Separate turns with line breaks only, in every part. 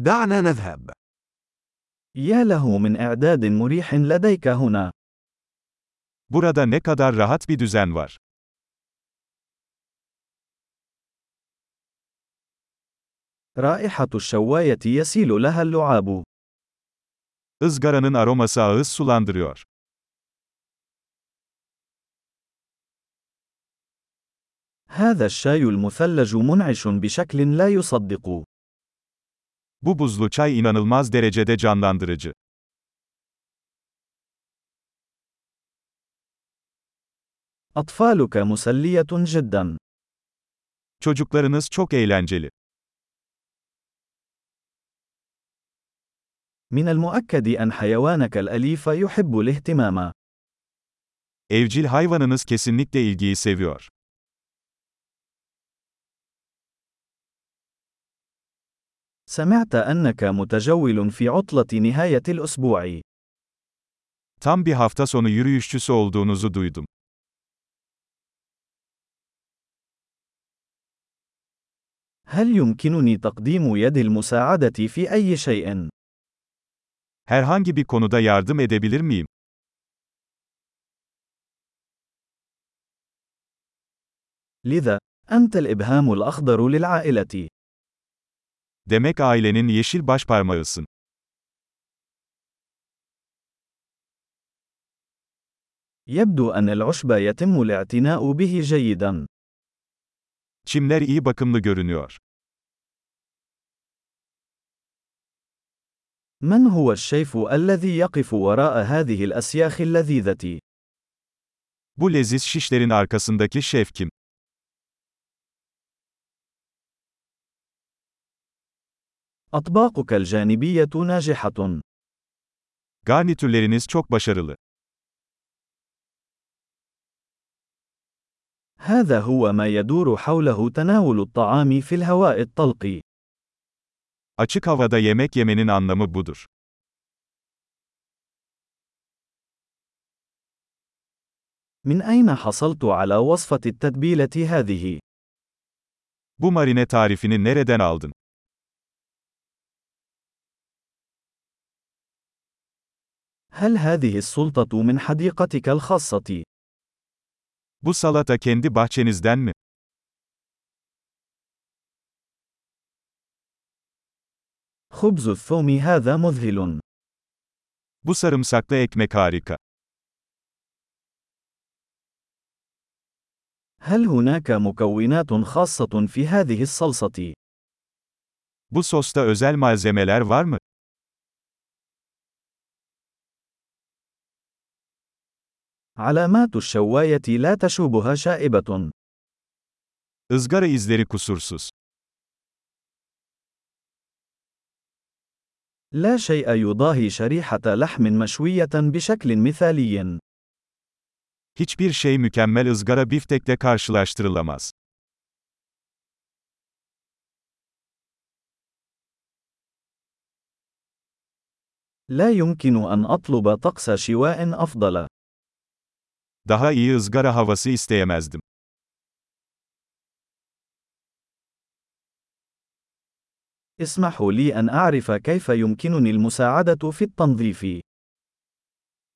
دعنا نذهب.
يا له من إعداد مريح لديك هنا.
Burada ne kadar rahat bir düzen var.
رائحة الشواية يسيل لها اللعاب.
Izgaranın aroması ağız sulandırıyor.
هذا الشاي المثلج منعش بشكل لا يصدق.
Bu buzlu çay inanılmaz derecede canlandırıcı.
أطفالك مسلية جدا.
Çocuklarınız çok eğlenceli.
من المؤكد أن حيوانك الأليف يحب الاهتمام.
Evcil hayvanınız kesinlikle ilgiyi seviyor.
سمعت أنك متجول في عطلة نهاية الأسبوع.
Tam bir hafta sonu yürüyüşçüsü olduğunuzu duydum.
هل يمكنني تقديم يد المساعدة في أي شيء؟
Herhangi bir konuda yardım edebilir miyim?
لذا، أنت الإبهام الأخضر للعائلة.
Demek ailenin yeşil başparmağısın.
يبدو أن العشب يتم الاعتناء به جيداً.
Çimler iyi bakımlı görünüyor.
من هو الشيف الذي يقف وراء هذه الأسياخ اللذيذة؟
Bu leziz şişlerin arkasındaki şef kim?
أطباقك الجانبية ناجحة.
Garnitürleriniz çok başarılı.
هذا هو ما يدور حوله تناول الطعام في الهواء الطلق.
Açık havada yemek yemenin anlamı budur.
من أين حصلت على وصفة التتبيلة هذه؟
Bu marine tarifini nereden aldın?
هل هذه السلطة من حديقتك الخاصة؟
Bu salata kendi bahçenizden mi?
خبز الثوم هذا مذهل.
Bu sarımsaklı ekmek harika.
هل هناك مكونات خاصة في هذه الصلصة؟
Bu sosta özel malzemeler var mı?
علامات الشواية لا تشوبها شائبة.
Izgara izleri kusursuz.
لا شيء يضاهي شريحة لحم مشوية بشكل مثالي.
Hiçbir şey mükemmel ızgara biftekle karşılaştırılamaz.
لا يمكن أن أطلب طقس شواء أفضل.
Daha iyi ızgara havası isteyemezdim.
اسمح لي أن أعرف كيف يمكنني المساعدة في التنظيف.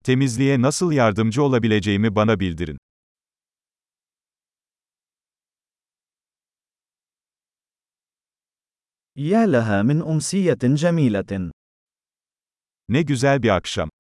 Temizliğe nasıl yardımcı olabileceğimi bana bildirin.
يا لها من أمسية جميلة.
Ne güzel bir akşam.